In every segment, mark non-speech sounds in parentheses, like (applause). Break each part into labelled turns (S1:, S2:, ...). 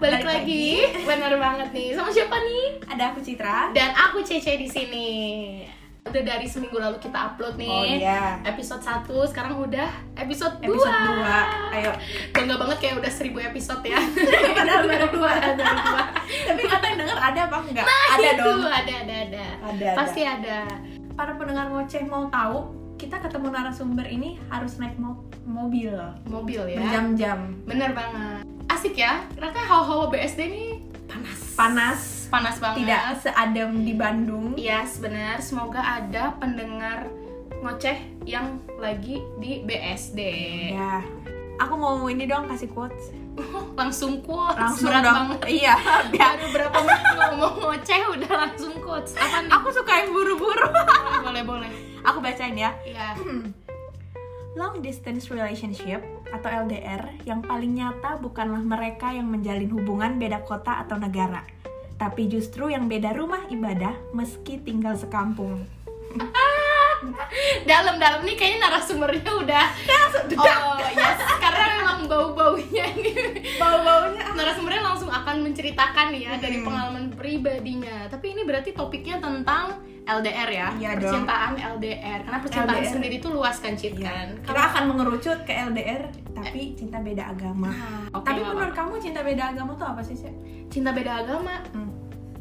S1: lagi. Bener banget nih. Sama siapa nih?
S2: Ada aku Citra.
S1: Dan aku Cece di sini. Udah dari seminggu lalu kita upload nih.
S2: Oh iya.
S1: Episode 1, sekarang udah episode 2.
S2: Episode 2. Ayo. (laughs)
S1: Bangga banget kayak udah 1000 episode ya.
S2: Padahal (laughs) baru dua.
S1: Baru dua. gitu.
S2: Tapi kata yang denger ada apa enggak? ada
S1: Itu,
S2: dong.
S1: Ada, ada, ada.
S2: Ada, ada.
S1: Pasti ada.
S2: Para pendengar ngoceh mau tahu, kita ketemu narasumber ini harus naik mo- mobil
S1: Mobil ya.
S2: berjam-jam.
S1: Bener banget. Asik ya. Rasanya hawa-hawa BSD nih panas.
S2: Panas,
S1: Panas Iya. banget.
S2: tidak seadem di Bandung.
S1: Yes, benar. Semoga ada pendengar ngoceh yang lagi di BSD.
S2: Ya. Aku mau ini dong kasih quotes.
S1: Langsung quotes.
S2: Langsung
S1: berat
S2: dong.
S1: banget.
S2: (laughs) Iya, biar
S1: Baru berapa menit ngomong ngoceh udah langsung quotes. Apa nih?
S2: aku suka yang buru-buru. (laughs)
S1: boleh boleh.
S2: aku bacain ya.
S1: Iya.
S2: Long distance relationship atau LDR yang paling nyata bukanlah mereka yang menjalin hubungan beda kota atau negara, tapi justru yang beda rumah ibadah meski tinggal sekampung.
S1: Dalam-dalam nih kayaknya narasumbernya udah. Oh, yes. Karena memang bau-baunya ini
S2: Bau-baunya
S1: narasumbernya langsung akan menceritakan ya dari
S2: Hmm.
S1: pengalaman pribadinya. Tapi ini berarti topiknya tentang LDR ya,
S2: Iya dong.
S1: percintaan LDR. Karena percintaan
S2: LDR.
S1: sendiri itu luas kan, Cit
S2: Iya.
S1: kan?
S2: Ya, Kita akan mengerucut ke LDR tapi cinta beda agama.
S1: Nah,
S2: Tapi menurut kamu cinta beda agama tuh apa sih, Hmm. Sep?
S1: cinta beda agama,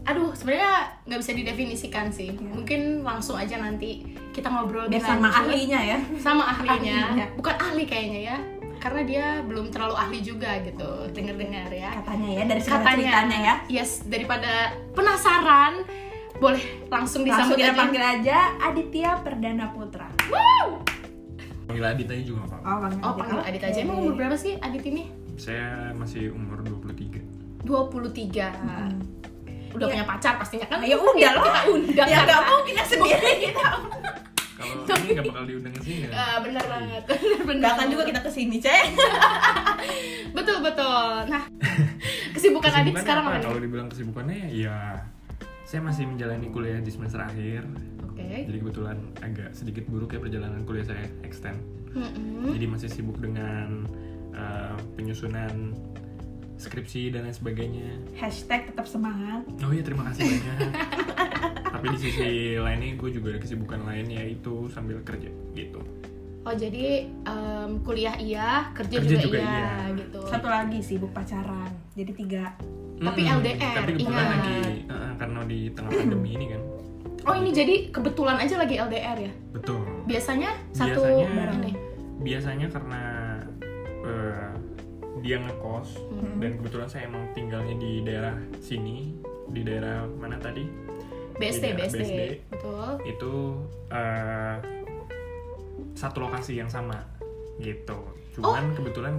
S1: aduh sebenarnya nggak bisa didefinisikan sih.
S2: Iya.
S1: Mungkin langsung aja nanti kita ngobrol
S2: Biar
S1: dengan
S2: sama ahlinya ya.
S1: sama ahlinya.
S2: Ahlinya.
S1: Bukan ahli kayaknya ya, karena dia belum terlalu ahli juga gitu. Dengar-dengar ya.
S2: Katanya ya dari segala
S1: katanya
S2: ceritanya ya.
S1: yes daripada penasaran boleh langsung
S2: Langsung
S1: disambut
S2: kita
S1: aja
S2: panggil aja Aditya Perdana Putra.
S3: Panggil Adit aja juga nggak apa-apa.
S2: Oh, panggil
S1: oh panggil
S2: Oke.
S1: Adit aja emang umur berapa sih Adit ini
S3: Saya masih umur 23.
S1: 23 udah
S2: Iya.
S1: punya pacar pastinya kan
S2: Ya udah lah.
S1: kita undang
S2: Ya
S1: kan?
S2: (laughs) nggak mungkin ya sendiri kita.
S3: (laughs) Kalau ini nggak bakal diundang ke sini.
S1: Ah, benar banget (laughs) benar benar
S2: Nggak akan juga kita kesini, Cek.
S1: betul betul nah kesibukan Adit
S3: Kesibukannya
S1: sekarang
S3: apa?
S1: apa nih
S3: Kalau dibilang kesibukannya ya saya masih menjalani kuliah di semester akhir.
S1: oke
S3: Jadi kebetulan agak sedikit buruk ya perjalanan kuliah saya extend.
S1: Mm-mm.
S3: Jadi masih sibuk dengan eh, penyusunan skripsi dan lain sebagainya.
S2: Hashtag tetap semangat.
S3: Oh iya terima kasih banyak. (laughs) Tapi di sisi lainnya gue juga ada kesibukan lain yaitu sambil kerja gitu.
S1: oh jadi em, kuliah iya kerja,
S3: Kerja
S1: juga,
S3: juga
S1: iya,
S3: iya.
S1: gitu
S2: Satu lagi sibuk pacaran. Jadi tiga.
S1: Tapi
S3: Mm-mm.
S1: LDR,
S3: Tapi kebetulan
S1: ingat.
S3: lagi eh, karena di tengah pandemi ini kan.
S1: oh ini jadi kebetulan aja lagi LDR ya
S3: Betul.
S1: biasanya satu
S3: Biasanya-
S1: barang nih
S3: Biasanya karena eh, dia ngekos
S1: Mhm.
S3: dan kebetulan saya emang tinggalnya di daerah sini, di daerah mana tadi?
S1: BSD,
S3: Iya,
S1: BSD,
S3: BSD.
S1: betul.
S3: Itu eh, satu lokasi yang sama gitu. Cuman kebetulan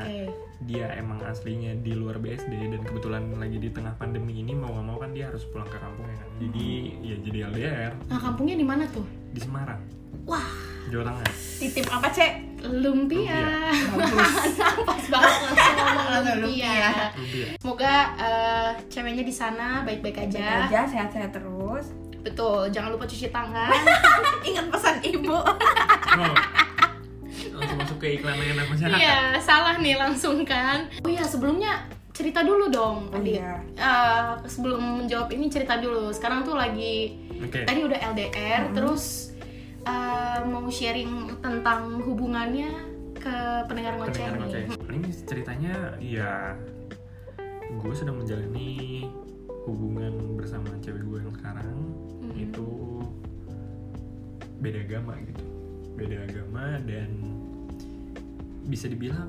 S1: oh, oke.
S3: dia emang aslinya di luar BSD dan kebetulan lagi di tengah pandemi ini mau nggak mau kan dia harus pulang ke kampung ya kan. Jadi ya jadi LDR
S1: Nah, kampungnya di mana tuh?
S3: di Semarang.
S1: Wah.
S3: Jawa Tengah.
S2: Titip apa, Cek?
S1: Lumpia. (laughs)
S2: Bagus.
S1: Pas banget langsung ngomong
S2: Langsung
S1: lumpia.
S2: lumpia.
S3: Iya.
S1: Semoga eh, ceweknya di sana baik-baik aja.
S2: aja sehat-sehat terus.
S1: Betul, jangan lupa cuci tangan.
S2: Ingat pesan ibu.
S3: Oh. Langsung masuk ke iklan layanan masyarakat. (laughs)
S1: Iya, salah nih langsung kan. Oh iya, sebelumnya cerita dulu dong,
S2: Oh,
S1: Adit.
S2: iya.
S1: Eh, sebelum menjawab ini cerita dulu. Sekarang tuh lagi
S3: Oke. Hmm.
S1: tadi udah LDR terus eh, mau sharing tentang hubungannya ke pendengar ngoceh
S3: Pendengar ngoceh.
S1: nih.
S3: Ini ceritanya ya gue sedang menjalani hubungan bersama cewek gue yang sekarang
S1: Mhm.
S3: itu beda agama gitu. Beda agama dan bisa dibilang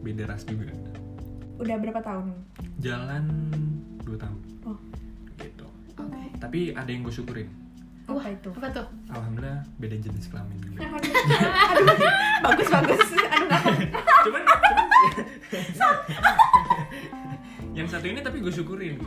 S3: beda ras juga.
S2: Udah berapa tahun?
S3: Jalan 2 tahun.
S2: Oh.
S3: Gitu.
S1: Oke.
S3: Tapi ada yang gue syukurin.
S2: Apa itu?
S1: Apa tuh?
S3: Alhamdulillah beda jenis kelamin
S2: (laughs)
S3: juga.
S2: Aduh, bagus bagus. Aduh, nggak-
S3: cuman, cuman (laughs) yang satu ini tapi gue syukurin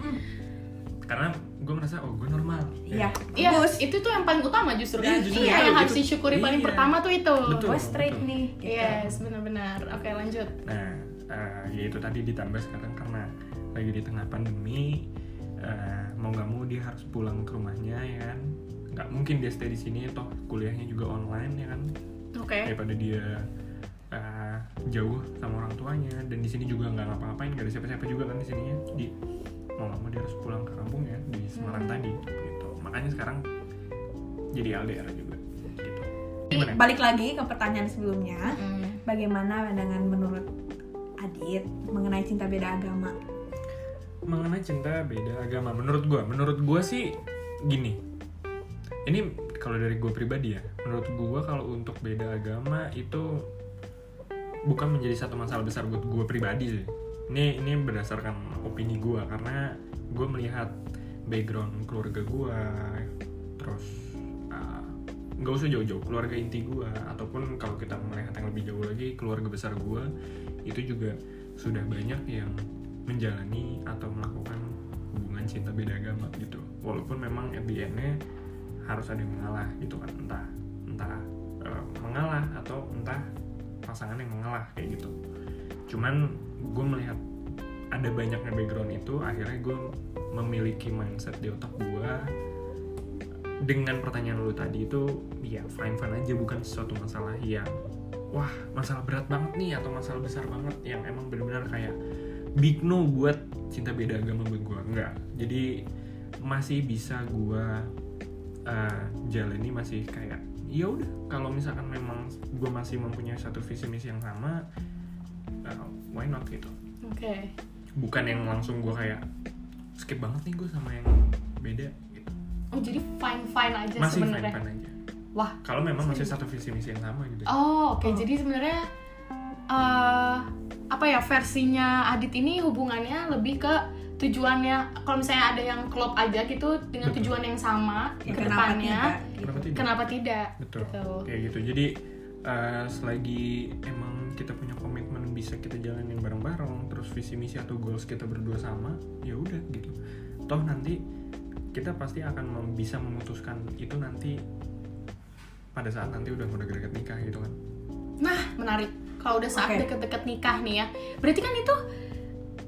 S3: karena gue merasa oh gue normal
S2: iya.
S1: Iya,
S2: Bagus.
S1: itu tuh yang paling utama justru
S3: Iya,
S1: kan.
S3: justru
S1: Iya,
S3: itu,
S1: yang harus
S3: justru.
S1: disyukuri paling
S3: Iya.
S1: pertama tuh itu.
S3: Betul.
S2: Gue straight nih. gitu.
S1: Yes, benar-benar. Oke, lanjut.
S3: nah eh, ya itu tadi ditambah sekarang karena lagi di tengah pandemi eh, mau nggak mau dia harus pulang ke rumahnya ya kan nggak mungkin dia stay di sini toh kuliahnya juga online ya kan
S1: Oke.
S3: daripada dia eh, jauh sama orang tuanya dan di sini juga nggak ngapa-ngapain nggak ada siapa-siapa juga kan di sininya di mau nggak mau dia harus pulang ke kampung ya di Semarang tadi gitu makanya sekarang jadi LDR juga gitu gimana
S2: Balik lagi ke pertanyaan sebelumnya,
S1: Hmm.
S2: bagaimana pandangan menurut Adit mengenai cinta beda agama?
S3: mengenai cinta beda agama menurut gua menurut gua sih gini ini kalau dari gua pribadi ya menurut gua kalau untuk beda agama itu bukan menjadi satu masalah besar buat gua pribadi sih ini ini berdasarkan opini gua karena gua melihat background keluarga gua terus ah, nggak usah jauh-jauh keluarga inti gua ataupun kalau kita melihat yang lebih jauh lagi keluarga besar gua itu juga sudah banyak yang menjalani atau melakukan hubungan cinta beda agama gitu walaupun memang at the end-nya harus ada yang mengalah gitu kan entah entah eh, mengalah atau entah pasangan yang mengalah kayak gitu cuman gue melihat ada banyaknya background itu akhirnya gue memiliki mindset di otak gue dengan pertanyaan lu tadi itu ya fine fine aja bukan sesuatu masalah yang wah masalah berat banget nih atau masalah besar banget yang emang benar-benar kayak big no buat cinta beda agama buat gue enggak jadi masih bisa gue jalani masih kayak ya udah kalau misalkan memang gue masih mempunyai satu visi misi yang sama eh, why not gitu
S1: Oke.
S3: bukan yang langsung gue kayak skip banget nih gue sama yang beda gitu.
S1: Oh jadi fine fine aja
S3: masih fine
S1: sebenarnya.
S3: fine aja
S1: Wah.
S3: kalau memang masih satu visi misi yang sama gitu
S1: Oh oke
S2: Oh.
S1: jadi sebenarnya eh apa ya versinya Adit ini hubungannya lebih ke tujuannya kalau misalnya ada yang klop aja gitu dengan
S3: Betul.
S1: tujuan yang sama ke
S2: Ya,
S1: depannya
S2: tidak? gitu?
S3: kenapa tidak
S1: gitu. kenapa tidak?
S3: betul
S1: Gitu.
S3: kayak gitu jadi eh, selagi emang kita punya komitmen bisa kita jalanin bareng-bareng terus visi misi atau goals kita berdua sama ya udah gitu toh nanti kita pasti akan mem- bisa memutuskan itu nanti pada saat nanti udah udah deket nikah gitu kan
S1: Nah menarik kalau udah saat
S2: Oke.
S1: deket-deket nikah nih ya berarti kan itu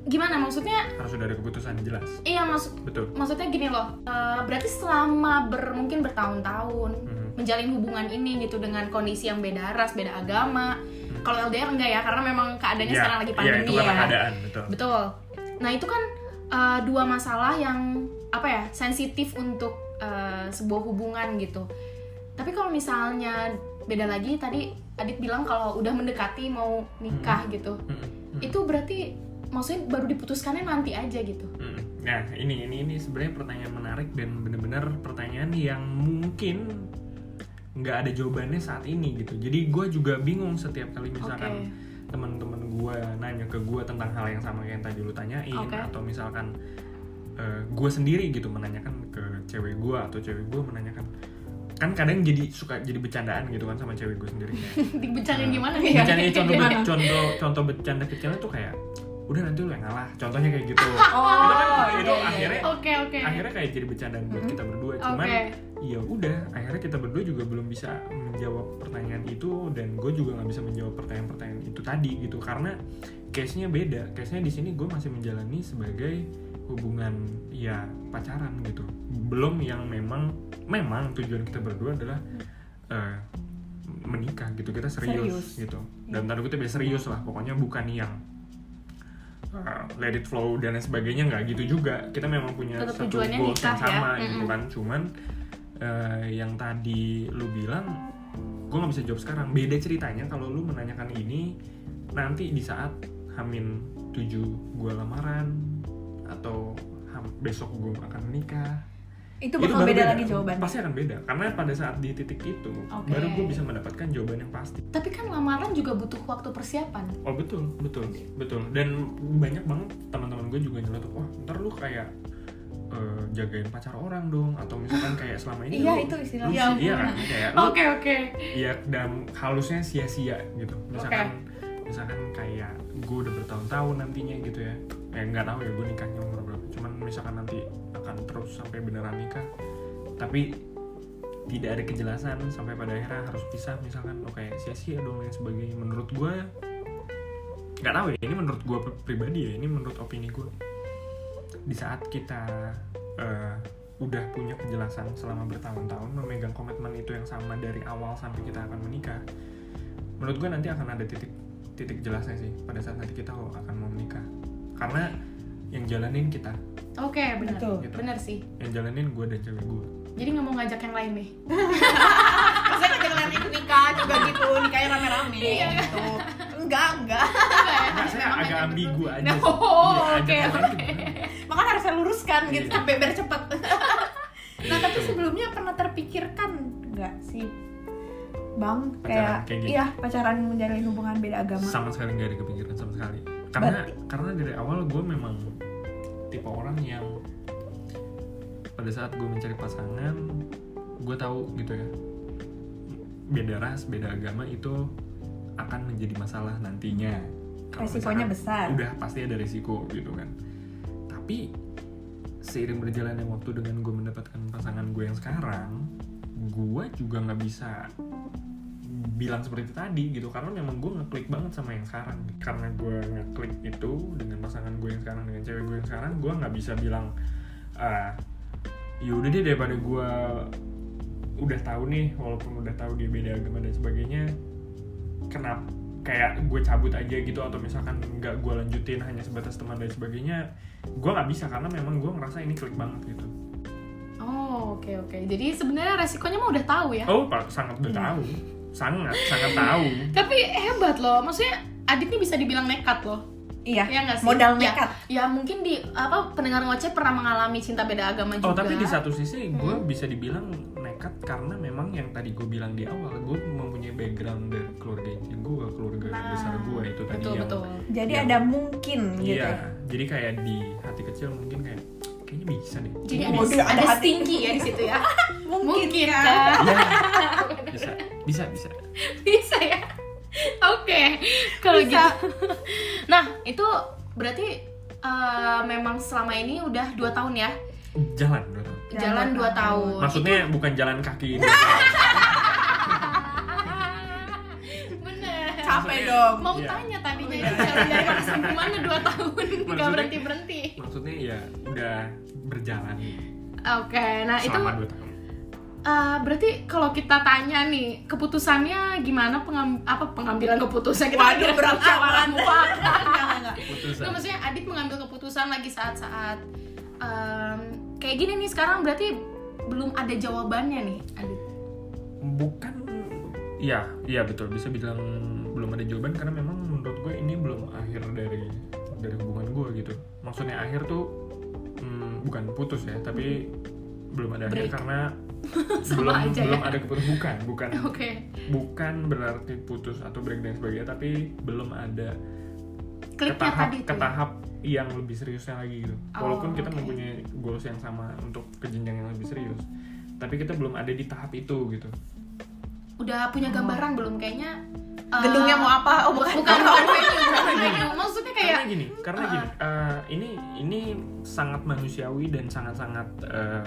S1: gimana maksudnya?
S3: harus udah ada keputusan jelas
S1: Iya maksud
S3: betul
S1: maksudnya gini loh eh, berarti selama ber mungkin bertahun-tahun
S3: Mhm.
S1: menjalin hubungan ini gitu dengan kondisi yang beda ras, beda agama. Kalau LDR enggak ya, karena memang keadaannya
S3: Ya,
S1: sekarang lagi
S3: ya,
S1: pandemi
S3: Hmm. itu
S1: ya.
S3: karena keadaan betul
S1: Betul. Nah, itu kan eh, dua masalah yang apa ya, sensitif untuk eh, sebuah hubungan gitu. Tapi kalau misalnya beda lagi tadi Adit bilang kalau udah mendekati mau
S3: Hmm.
S1: nikah gitu.
S3: Mm-mm. Mm-mm.
S1: Itu berarti maksudnya baru diputuskannya nanti aja gitu.
S3: Mm. Nah, ini ini ini sebenarnya pertanyaan menarik dan benar-benar pertanyaan yang mungkin nggak ada jawabannya saat ini gitu. Jadi gue juga bingung setiap kali misalkan teman-teman gue nanya ke gue tentang hal yang sama kayak yang tadi lu tanyain
S1: Oke.
S3: atau misalkan gue sendiri gitu menanyakan ke cewek gue atau cewek gue menanyakan kan kadang jadi suka jadi bercandaan gitu kan sama cewek gue sendiri kayak
S1: (laughs) Dibecandain
S3: Hmm.
S1: gimana nih? ya?
S3: bercanda
S1: (laughs)
S3: contoh contoh contoh bercanda kecilnya tuh kayak udah nanti lu yang ngalah contohnya kayak gitu itu kan
S2: Oh,
S3: itu
S2: iya, iya.
S3: akhirnya
S1: Oke, oke. Mm-hmm.
S3: akhirnya kayak jadi bercandaan buat
S2: Mhm.
S3: kita berdua cuman
S1: Oke.
S3: ya udah akhirnya kita berdua juga belum bisa menjawab pertanyaan itu dan gue juga nggak bisa menjawab pertanyaan-pertanyaan itu tadi gitu karena case nya beda case nya di sini gue masih menjalani sebagai hubungan ya pacaran gitu belum yang memang memang tujuan kita berdua adalah eh, menikah gitu kita serius,
S2: Serius.
S3: gitu
S1: Iya.
S3: dan tanda kutip ya serius lah pokoknya bukan yang eh, let it flow dan lain sebagainya nggak gitu juga kita memang punya
S1: Tetap
S3: satu
S1: tujuannya
S3: goals yang
S1: nikah ya.
S3: sama gitu
S1: Mm-mm.
S3: kan cuman eh, yang tadi lu bilang gue nggak bisa jawab sekarang beda ceritanya kalau lu menanyakan ini nanti di saat hamin 7 gue lamaran atau ham- besok gue akan menikah
S2: Itu bakal
S3: baru
S2: beda, lagi jawabannya.
S3: pasti akan beda karena pada saat di titik itu
S2: Oke.
S3: baru gue bisa mendapatkan jawaban yang pasti
S1: Tapi kan lamaran juga butuh waktu persiapan.
S3: oh betul betul betul dan banyak banget teman-teman gue juga nyeletuk wah ntar lu kayak eh, jagain pacar orang dong atau misalkan kayak selama ini
S2: Iya,
S3: lu-
S2: itu istilahnya. Oh,
S3: lu-
S1: Ya ampun.
S3: iya kan kayak lu
S1: Oke, oke.
S3: ya dan halusnya sia-sia gitu misalkan misalkan kayak gue udah bertahun-tahun nantinya gitu ya ya nggak tahu ya gue nikahnya umur berapa cuman misalkan nanti akan terus sampai beneran nikah tapi tidak ada kejelasan sampai pada akhirnya harus pisah misalkan oke sia-sia dong dan sebagainya menurut gue nggak tahu ya ini menurut gue pri- pribadi ya ini menurut opini gue di saat kita eh, udah punya kejelasan selama bertahun-tahun memegang komitmen itu yang sama dari awal sampai kita akan menikah menurut gue nanti akan ada titik titik jelasnya sih pada saat nanti kita akan mau menikah karena yang jalanin kita
S1: Oke, benar.
S2: Betul.
S3: Gitu.
S1: Benar sih.
S3: yang jalanin gue dan cewek gue
S1: Jadi nggak mau ngajak yang lain
S3: (laughs)
S1: nih.
S4: Maksudnya ketika kalian ikut nikah juga gitu, nikahnya rame-rame
S1: Iya.
S4: gitu. Enggak, enggak.
S3: Nah, saya
S4: Memang
S3: agak
S4: ada
S3: ambigu
S4: betul.
S3: aja
S1: ya? (laughs) Oh,
S3: Iya,
S1: oke,
S3: ada
S1: oke.
S3: betul.
S4: Makanya harus saya luruskan gitu
S3: Iya.
S4: biar cepat.
S2: Nah tapi
S3: Gitu.
S2: sebelumnya pernah terpikirkan nggak sih Bang kayak,
S3: Pacaran kayak gitu.
S2: iya pacaran menjalin hubungan beda agama
S3: sama sekali nggak ada kepikiran sama sekali karena karena dari awal gue memang tipe orang yang pada saat gue mencari pasangan gue tahu gitu ya beda ras beda agama itu akan menjadi masalah nantinya Kalau
S2: Resikonya besar.
S3: misalkan udah pasti ada resiko gitu kan tapi seiring berjalannya waktu dengan gue mendapatkan pasangan gue yang sekarang gue juga nggak bisa bilang seperti tadi gitu karena memang gue ngeklik banget sama yang sekarang karena gue ngeklik itu dengan pasangan gue yang sekarang dengan cewek gue yang sekarang gue nggak bisa bilang ah yaudah deh daripada gue udah tahu nih walaupun udah tahu dia beda agama dan sebagainya kenapa kayak gue cabut aja gitu atau misalkan nggak gue lanjutin hanya sebatas teman dan sebagainya gue nggak bisa karena memang gue ngerasa ini klik banget gitu
S1: Oh, oke oke. Jadi sebenarnya resikonya mah udah tahu ya.
S3: oh Pak, sangat udah tahu sangat sangat tahu
S1: Tapi hebat loh. Maksudnya Adit nih bisa dibilang nekat loh.
S2: Iya
S1: Iya nggak sih?
S4: Modal
S1: Ya.
S4: nekat.
S1: Ya mungkin di apa pendengar ngoceh pernah mengalami cinta beda agama juga.
S3: Oh tapi di satu sisi gue
S1: Mm.
S3: bisa dibilang nekat karena memang yang tadi gue bilang di awal gue mempunyai background dari keluarga inti gue keluarga
S1: Nah,
S3: besar gue itu tadi
S1: betul
S3: yang
S1: betul.
S2: Jadi
S3: Iya.
S2: ada mungkin gitu
S3: iya jadi kayak di hati kecil mungkin kayak kayaknya bisa deh
S1: Jadi ada,
S3: Kayaknya
S4: Waduh, ada
S1: ada,
S4: hati. ya.
S1: stinky ya di situ
S4: (laughs)
S1: ya.
S2: Mungkin,
S1: mungkin
S2: kan?
S1: kan?
S3: bisa." Iya, bisa bisa bisa
S1: (laughs) bisa ya oke kalau gitu (laughs) nah itu berarti eh, memang selama ini udah dua tahun ya
S3: jalan dong
S1: jalan
S2: Jalan
S1: dua
S2: dua tahun.
S1: tahun
S3: maksudnya bukan jalan kaki ini
S1: (laughs) bener
S4: Capek dong.
S1: mau
S3: Iya.
S1: tanya tadinya itu jalan dari mana sampai mana dua tahun nggak
S3: Maksudnya-
S1: berhenti berhenti
S3: maksudnya ya udah berjalan
S1: oke nah itu
S3: selama dua tahun
S1: eh, berarti kalau kita tanya nih keputusannya gimana pengam- apa pengambilan keputusan kita
S4: Waduh,
S1: akhirnya
S4: berat
S1: mufakat,
S4: banget.
S1: mufakat.
S4: Enggak, enggak.
S1: Nggak,
S3: putusan
S1: maksudnya Adit mengambil keputusan lagi saat-saat em, kayak gini nih sekarang berarti belum ada jawabannya nih Adit. (laughs)
S3: bukan ya iya betul bisa bilang belum ada jawaban karena memang menurut gue ini belum akhir dari dari hubungan gue gitu maksudnya akhir tuh mm, bukan putus ya tapi belum ada akhir
S1: Break.
S3: karena
S1: (laughs) Sama
S3: belum
S1: aja
S3: belum
S1: ya.
S3: ada keputusan bukan
S1: (laughs)
S3: bukan
S1: Oke.
S3: bukan berarti putus atau break dan sebagainya tapi belum ada ke
S1: Kliknya
S3: tahap
S1: tadi
S3: ke
S1: tuh.
S3: tahap yang lebih seriusnya lagi gitu.
S1: Oh,
S3: Walaupun kita
S1: oke.
S3: mempunyai goals yang sama untuk ke jenjang yang lebih serius, tapi kita belum ada di tahap itu gitu.
S1: Udah punya gambaran belum kayaknya? eh,
S4: Gedungnya mau apa? Oh,
S1: bukan
S4: bukan. (laughs)
S1: bukan bukan venue, bukan venue. Maksudnya kayak
S3: karena gini, karena gini, eh, ini ini sangat manusiawi dan sangat-sangat eh,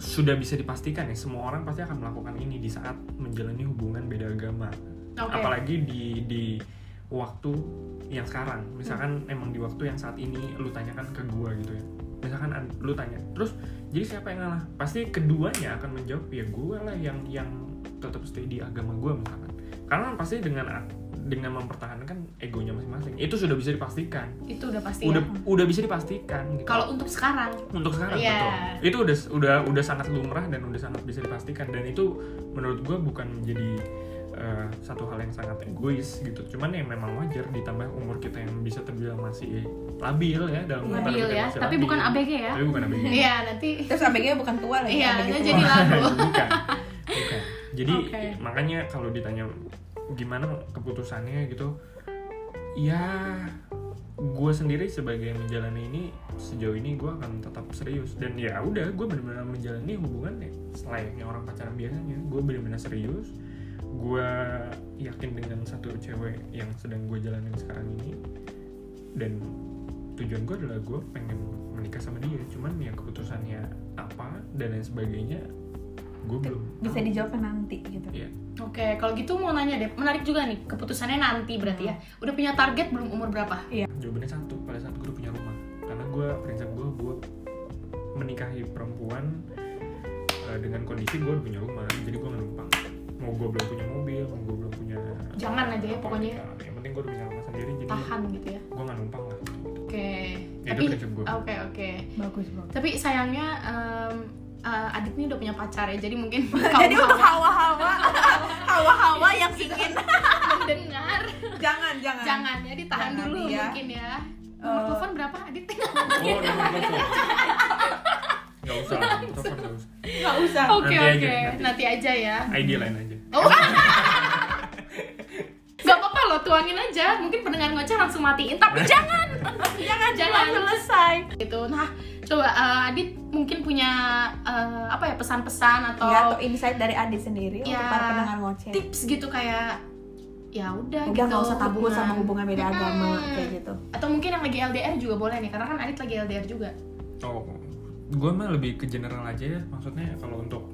S3: sudah bisa dipastikan ya semua orang pasti akan melakukan ini di saat menjalani hubungan beda agama.
S1: oke.
S3: apalagi di di waktu yang sekarang misalkan emang di waktu yang saat ini lu tanyakan ke gua gitu ya misalkan an- lu tanya terus jadi siapa yang ngalah pasti keduanya akan menjawab ya gua lah yang yang tetap stay di agama gua misalkan karena kan pasti dengan a- dengan mempertahankan egonya masing-masing itu sudah bisa dipastikan
S1: Itu udah pasti.
S3: udah
S1: ya.
S3: udah bisa dipastikan gitu
S1: Kalau untuk
S4: (laughs)
S1: sekarang,
S3: untuk sekarang
S1: Iya.
S3: betul itu udah udah udah sangat lumrah dan udah sangat bisa dipastikan dan itu menurut gue bukan menjadi eh, satu hal yang sangat egois gitu cuman ya memang wajar ditambah umur kita yang bisa terbilang masih labil ya dalam
S2: Labil
S3: tanda kutip
S1: ya,
S3: masih
S1: tapi bukan ABG ya.
S3: tapi bukan ABG
S1: (laughs) iya nanti
S2: Terus abg bukan tua lagi gitu.
S1: iya nanti
S2: ABG tua.
S1: jadi lagu.
S3: (laughs) bukan bukan jadi
S1: Oke.
S3: makanya kalau ditanya gimana keputusannya gitu ya gue sendiri sebagai yang menjalani ini sejauh ini gue akan tetap serius dan ya udah gue benar-benar menjalani hubungan ya selayaknya orang pacaran biasanya gue benar-benar serius gue yakin dengan satu cewek yang sedang gue jalanin sekarang ini dan tujuan gue adalah gue pengen menikah sama dia cuman ya keputusannya apa dan lain sebagainya gue belum
S2: Bisa
S3: tahu.
S2: dijawab nanti gitu
S3: Iya.
S1: Oke, kalau gitu mau nanya deh. Menarik juga nih keputusannya nanti berarti ya. Udah punya target belum umur berapa?
S3: jawabannya satu pada saat gue udah punya rumah karena gue prinsip gue gue menikahi perempuan eh, dengan kondisi gue udah punya rumah jadi gue numpang mau gue belum punya mobil mau gue belum punya
S1: Jangan aja ya,
S3: apa,
S1: pokoknya.
S3: ya, yang penting gue udah punya rumah sendiri jadi
S1: tahan gitu ya
S3: gue nggak numpang
S1: (laughs)
S3: lah Oh,
S1: oke
S3: Ya,
S1: tapi
S3: itu
S1: oke
S3: prinsip gue.
S1: oke
S2: Bagus banget.
S1: tapi sayangnya em, eh, adit ini udah punya pacar ya jadi mungkin
S2: (laughs)
S1: kalau
S2: Jadi untuk hawa-hawa, (laughs) hawa-hawa yang ingin (laughs)
S1: mendengar
S2: jangan jangan.
S1: jangan ya ditahan
S2: Jangan,
S1: dulu
S2: iya.
S1: mungkin ya nomor
S2: Eh,
S1: telepon berapa adit
S3: oh udah mau telepon nggak usah lah, telepon nggak usah
S2: Nggak usah.
S1: (laughs) oke
S3: aja,
S1: oke
S3: nanti.
S1: nanti aja ya
S3: ID lain aja
S1: Oh. Gak apa-apa loh, tuangin aja. Mungkin pendengar ngoceh langsung matiin.
S3: (laughs)
S1: Tapi jangan,
S2: (laughs)
S1: jangan, jangan.
S2: selesai.
S1: Gitu. Nah, coba eh, Adit mungkin punya eh, apa ya pesan-pesan atau,
S2: Ya, atau insight dari Adit sendiri untuk
S1: Ya.
S2: para pendengar ngoceh.
S1: tips gitu kayak ya udah
S2: Udah
S1: gitu.
S2: nggak usah tabu
S1: hubungan.
S2: sama hubungan beda
S1: Mm-mm.
S2: agama kayak gitu.
S1: Atau mungkin yang lagi LDR juga boleh nih, karena kan Adit lagi LDR juga.
S3: oh gue mah lebih ke general aja ya maksudnya kalau untuk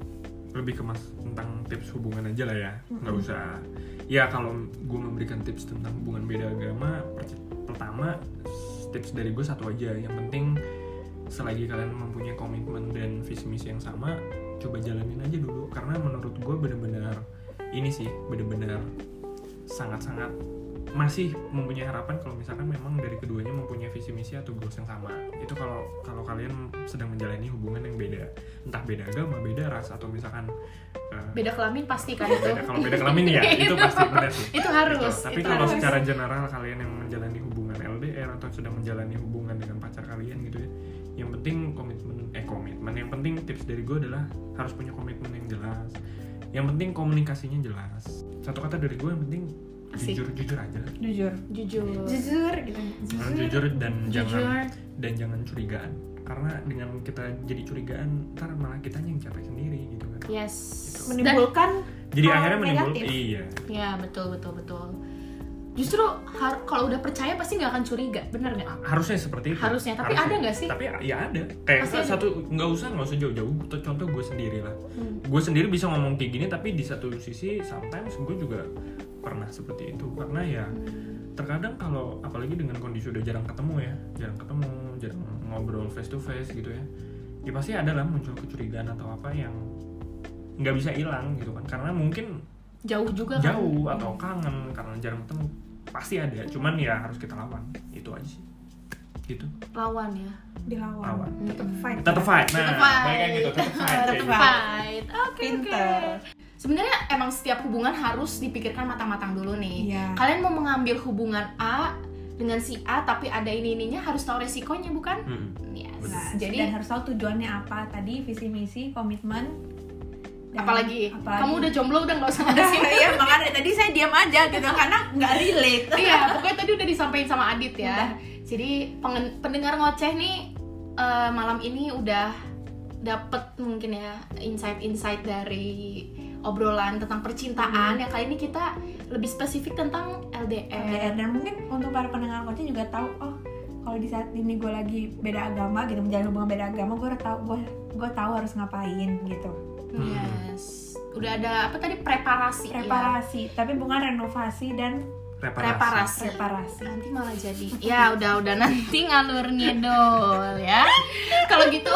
S3: lebih ke mas tentang tips hubungan aja lah ya nggak usah ya kalau gue memberikan tips tentang hubungan beda agama per- pertama tips dari gue satu aja yang penting selagi kalian mempunyai komitmen dan visi misi yang sama coba jalanin aja dulu karena menurut gue bener-bener ini sih bener-bener sangat-sangat masih mempunyai harapan kalau misalkan memang dari keduanya mempunyai visi misi atau goals yang sama itu kalau kalau kalian sedang menjalani hubungan yang beda entah beda agama beda ras atau misalkan eh,
S1: Beda kelamin pasti kan itu.
S3: beda kalau beda kelamin ya itu pasti benar sih
S1: (laughs) Itu harus.
S3: Gitu. tapi
S1: itu
S3: kalau
S1: harus.
S3: secara general kalian yang menjalani hubungan LDR atau sedang menjalani hubungan dengan pacar kalian gitu ya yang penting komitmen eh komitmen yang penting tips dari gue adalah harus punya komitmen yang jelas yang penting komunikasinya jelas satu kata dari gue yang penting
S1: Asik.
S3: jujur jujur aja lah.
S2: Jujur.
S1: jujur.
S2: Jujur gitu.
S3: Harus jujur dan jangan
S1: Jujur.
S3: dan jangan curigaan karena dengan kita jadi curigaan ntar malah kita yang capek sendiri gitu kan
S1: Yes. Dan
S2: Menimbulkan
S3: jadi
S1: Oh,
S2: Hal
S3: akhirnya menimbul
S2: negatif.
S3: iya
S1: Ya betul betul betul. Justru har- kalau udah percaya pasti nggak akan curiga, bener nggak?
S3: harusnya seperti itu
S1: Harusnya, tapi ada nggak sih?
S3: tapi ya ada kayak
S1: Pasti ada.
S3: satu nggak usah nggak usah jauh-jauh Contoh- contoh gue sendiri lah gue sendiri bisa ngomong kayak gini tapi di satu sisi sometimes gue juga pernah seperti itu karena ya terkadang kalau apalagi dengan kondisi udah jarang ketemu ya jarang ketemu jarang ngobrol face to face gitu ya ya pasti ada lah muncul kecurigaan atau apa yang nggak bisa hilang gitu kan karena mungkin
S1: Jauh juga kan?
S3: jauh atau kangen karena jarang ketemu pasti ada cuman ya harus kita lawan itu aja sih gitu
S1: Lawan ya. Hmm.
S2: dilawan.
S3: Lawan.
S2: Tetap fight.
S3: tetap fight nah
S1: Tetep fight.
S3: balikan gitu tetap fight
S2: Tetep
S3: kayak gitu.
S2: fight.
S1: Fight. Oke oke.
S2: Pinter.
S1: Sebenarnya emang setiap hubungan harus dipikirkan matang-matang dulu nih.
S2: Iya.
S1: Kalian mau mengambil hubungan A dengan si A tapi ada ini ininya harus tahu resikonya bukan?
S3: Mm-mm.
S1: Yes.
S2: Nah,
S1: Jadi
S2: dan harus tahu tujuannya apa tadi visi misi komitmen dan
S1: apalagi, kamu
S2: (laughs)
S1: udah jomblo udah nggak usah ngasih.
S2: ya makanya tadi saya diam aja gitu karena nggak relate
S1: Iya, pokoknya tadi udah disampaikan sama Adit ya. Jadi pengen- pendengar ngoceh nih eh, malam ini udah dapet mungkin ya insight-insight dari obrolan tentang
S2: Hmm.
S1: percintaan. Yang kali ini kita lebih spesifik tentang LDR.
S2: LDR dan mungkin untuk para pendengar coaching juga tahu oh kalau di saat ini gue lagi beda agama gitu menjalin hubungan beda agama gue tahu gue gue tahu harus ngapain gitu
S3: Hmm.
S1: Yes. Udah ada apa tadi preparasi? ya?
S2: reparasi tapi bukan renovasi dan
S3: reparasi,
S1: Reparasi.
S2: reparasi
S1: Nanti malah jadi. (laughs) Ya udah udah nanti ngalurnya dol ya. Kalau gitu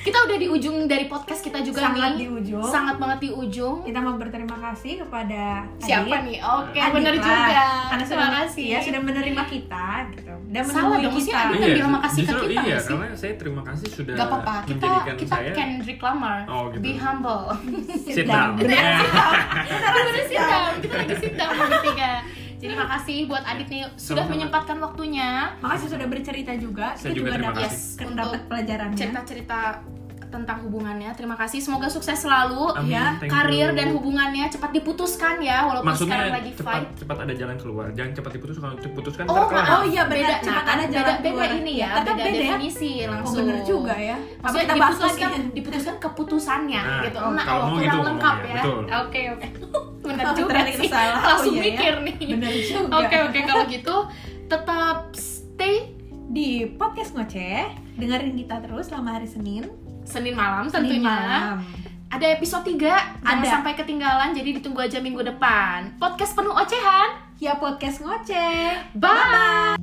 S1: kita udah di ujung dari podcast kita juga
S2: sangat di
S1: nih.
S2: ujung
S1: sangat banget di ujung.
S2: kita mau berterima kasih kepada
S1: siapa
S2: Adit.
S1: nih? Oke,
S2: Adit
S1: bener
S2: lah.
S1: juga.
S2: karena sudah
S1: Terima kasih.
S2: ya sudah menerima kita gitu dan
S1: Salah
S2: menemui
S1: dong,
S2: kita
S1: maksudnya Adit- Kan bilang makasih ke
S3: justru
S1: kita
S3: iya
S1: nggak sih?
S3: karena saya terima kasih sudah
S1: Gak apa-apa, kita
S3: menjadikan
S1: kita
S3: saya
S1: Kendrick Lamar.
S3: Oh, gitu.
S1: Be humble.
S3: sit down
S2: Bener.
S3: Nah,
S1: kita lagi sit down, kita lagi sit (laughs) down bertiga. Jadi makasih buat Adit nih sudah
S3: Sama-sama.
S1: menyempatkan waktunya
S2: makasih sudah bercerita juga
S3: Saya
S2: kita
S3: juga
S2: juga,
S3: terima
S2: dapat
S1: kasih.
S2: kan dapat pelajarannya
S1: cerita-cerita tentang hubungannya. Terima kasih, semoga sukses selalu.
S3: amin,
S2: ya,
S3: thank
S1: Karir
S3: you.
S1: dan hubungannya cepat diputuskan ya, walaupun
S3: maksudnya
S1: sekarang lagi
S3: cepat
S1: fight.
S3: cepat ada jalan keluar jangan cepat diputuskan diputuskan
S1: Oh,
S3: terkelar.
S1: maaf.
S2: Oh iya
S1: Beda,
S2: benar, cepat
S1: nah,
S2: ada jalan
S1: beda, beda
S2: keluar.
S1: ini ya,
S2: tetap
S1: beda,
S2: beda ya.
S1: definisi
S2: Oh
S1: langsung.
S2: bener juga ya. Apa
S1: Maksudnya
S2: kita bahas lagi? ya.
S1: diputuskan, diputuskan keputusannya
S3: Nah,
S1: gitu.
S3: oh,
S1: Nah,
S3: kalau
S1: oh,
S3: mau
S1: kurang
S3: gitu
S1: lengkap ya.
S3: ngomongnya, betul.
S1: Oke,
S2: (laughs)
S1: oke. Benar
S2: Kalau
S1: juga
S2: ternyata
S1: sih.
S2: salah, oh
S1: Langsung
S2: iya ya.
S1: mikir nih.
S2: Bener juga.
S1: (laughs) Oke, oke kalau gitu tetap stay
S2: Di podcast ngoceh, dengerin kita terus selama hari Senin.
S1: Senin malam tentunya.
S2: Senin malam.
S1: Ada episode 3, jangan
S2: Ada.
S1: sampai ketinggalan jadi ditunggu aja minggu depan. Podcast penuh ocehan.
S2: Ya podcast ngoceh.
S1: Bye.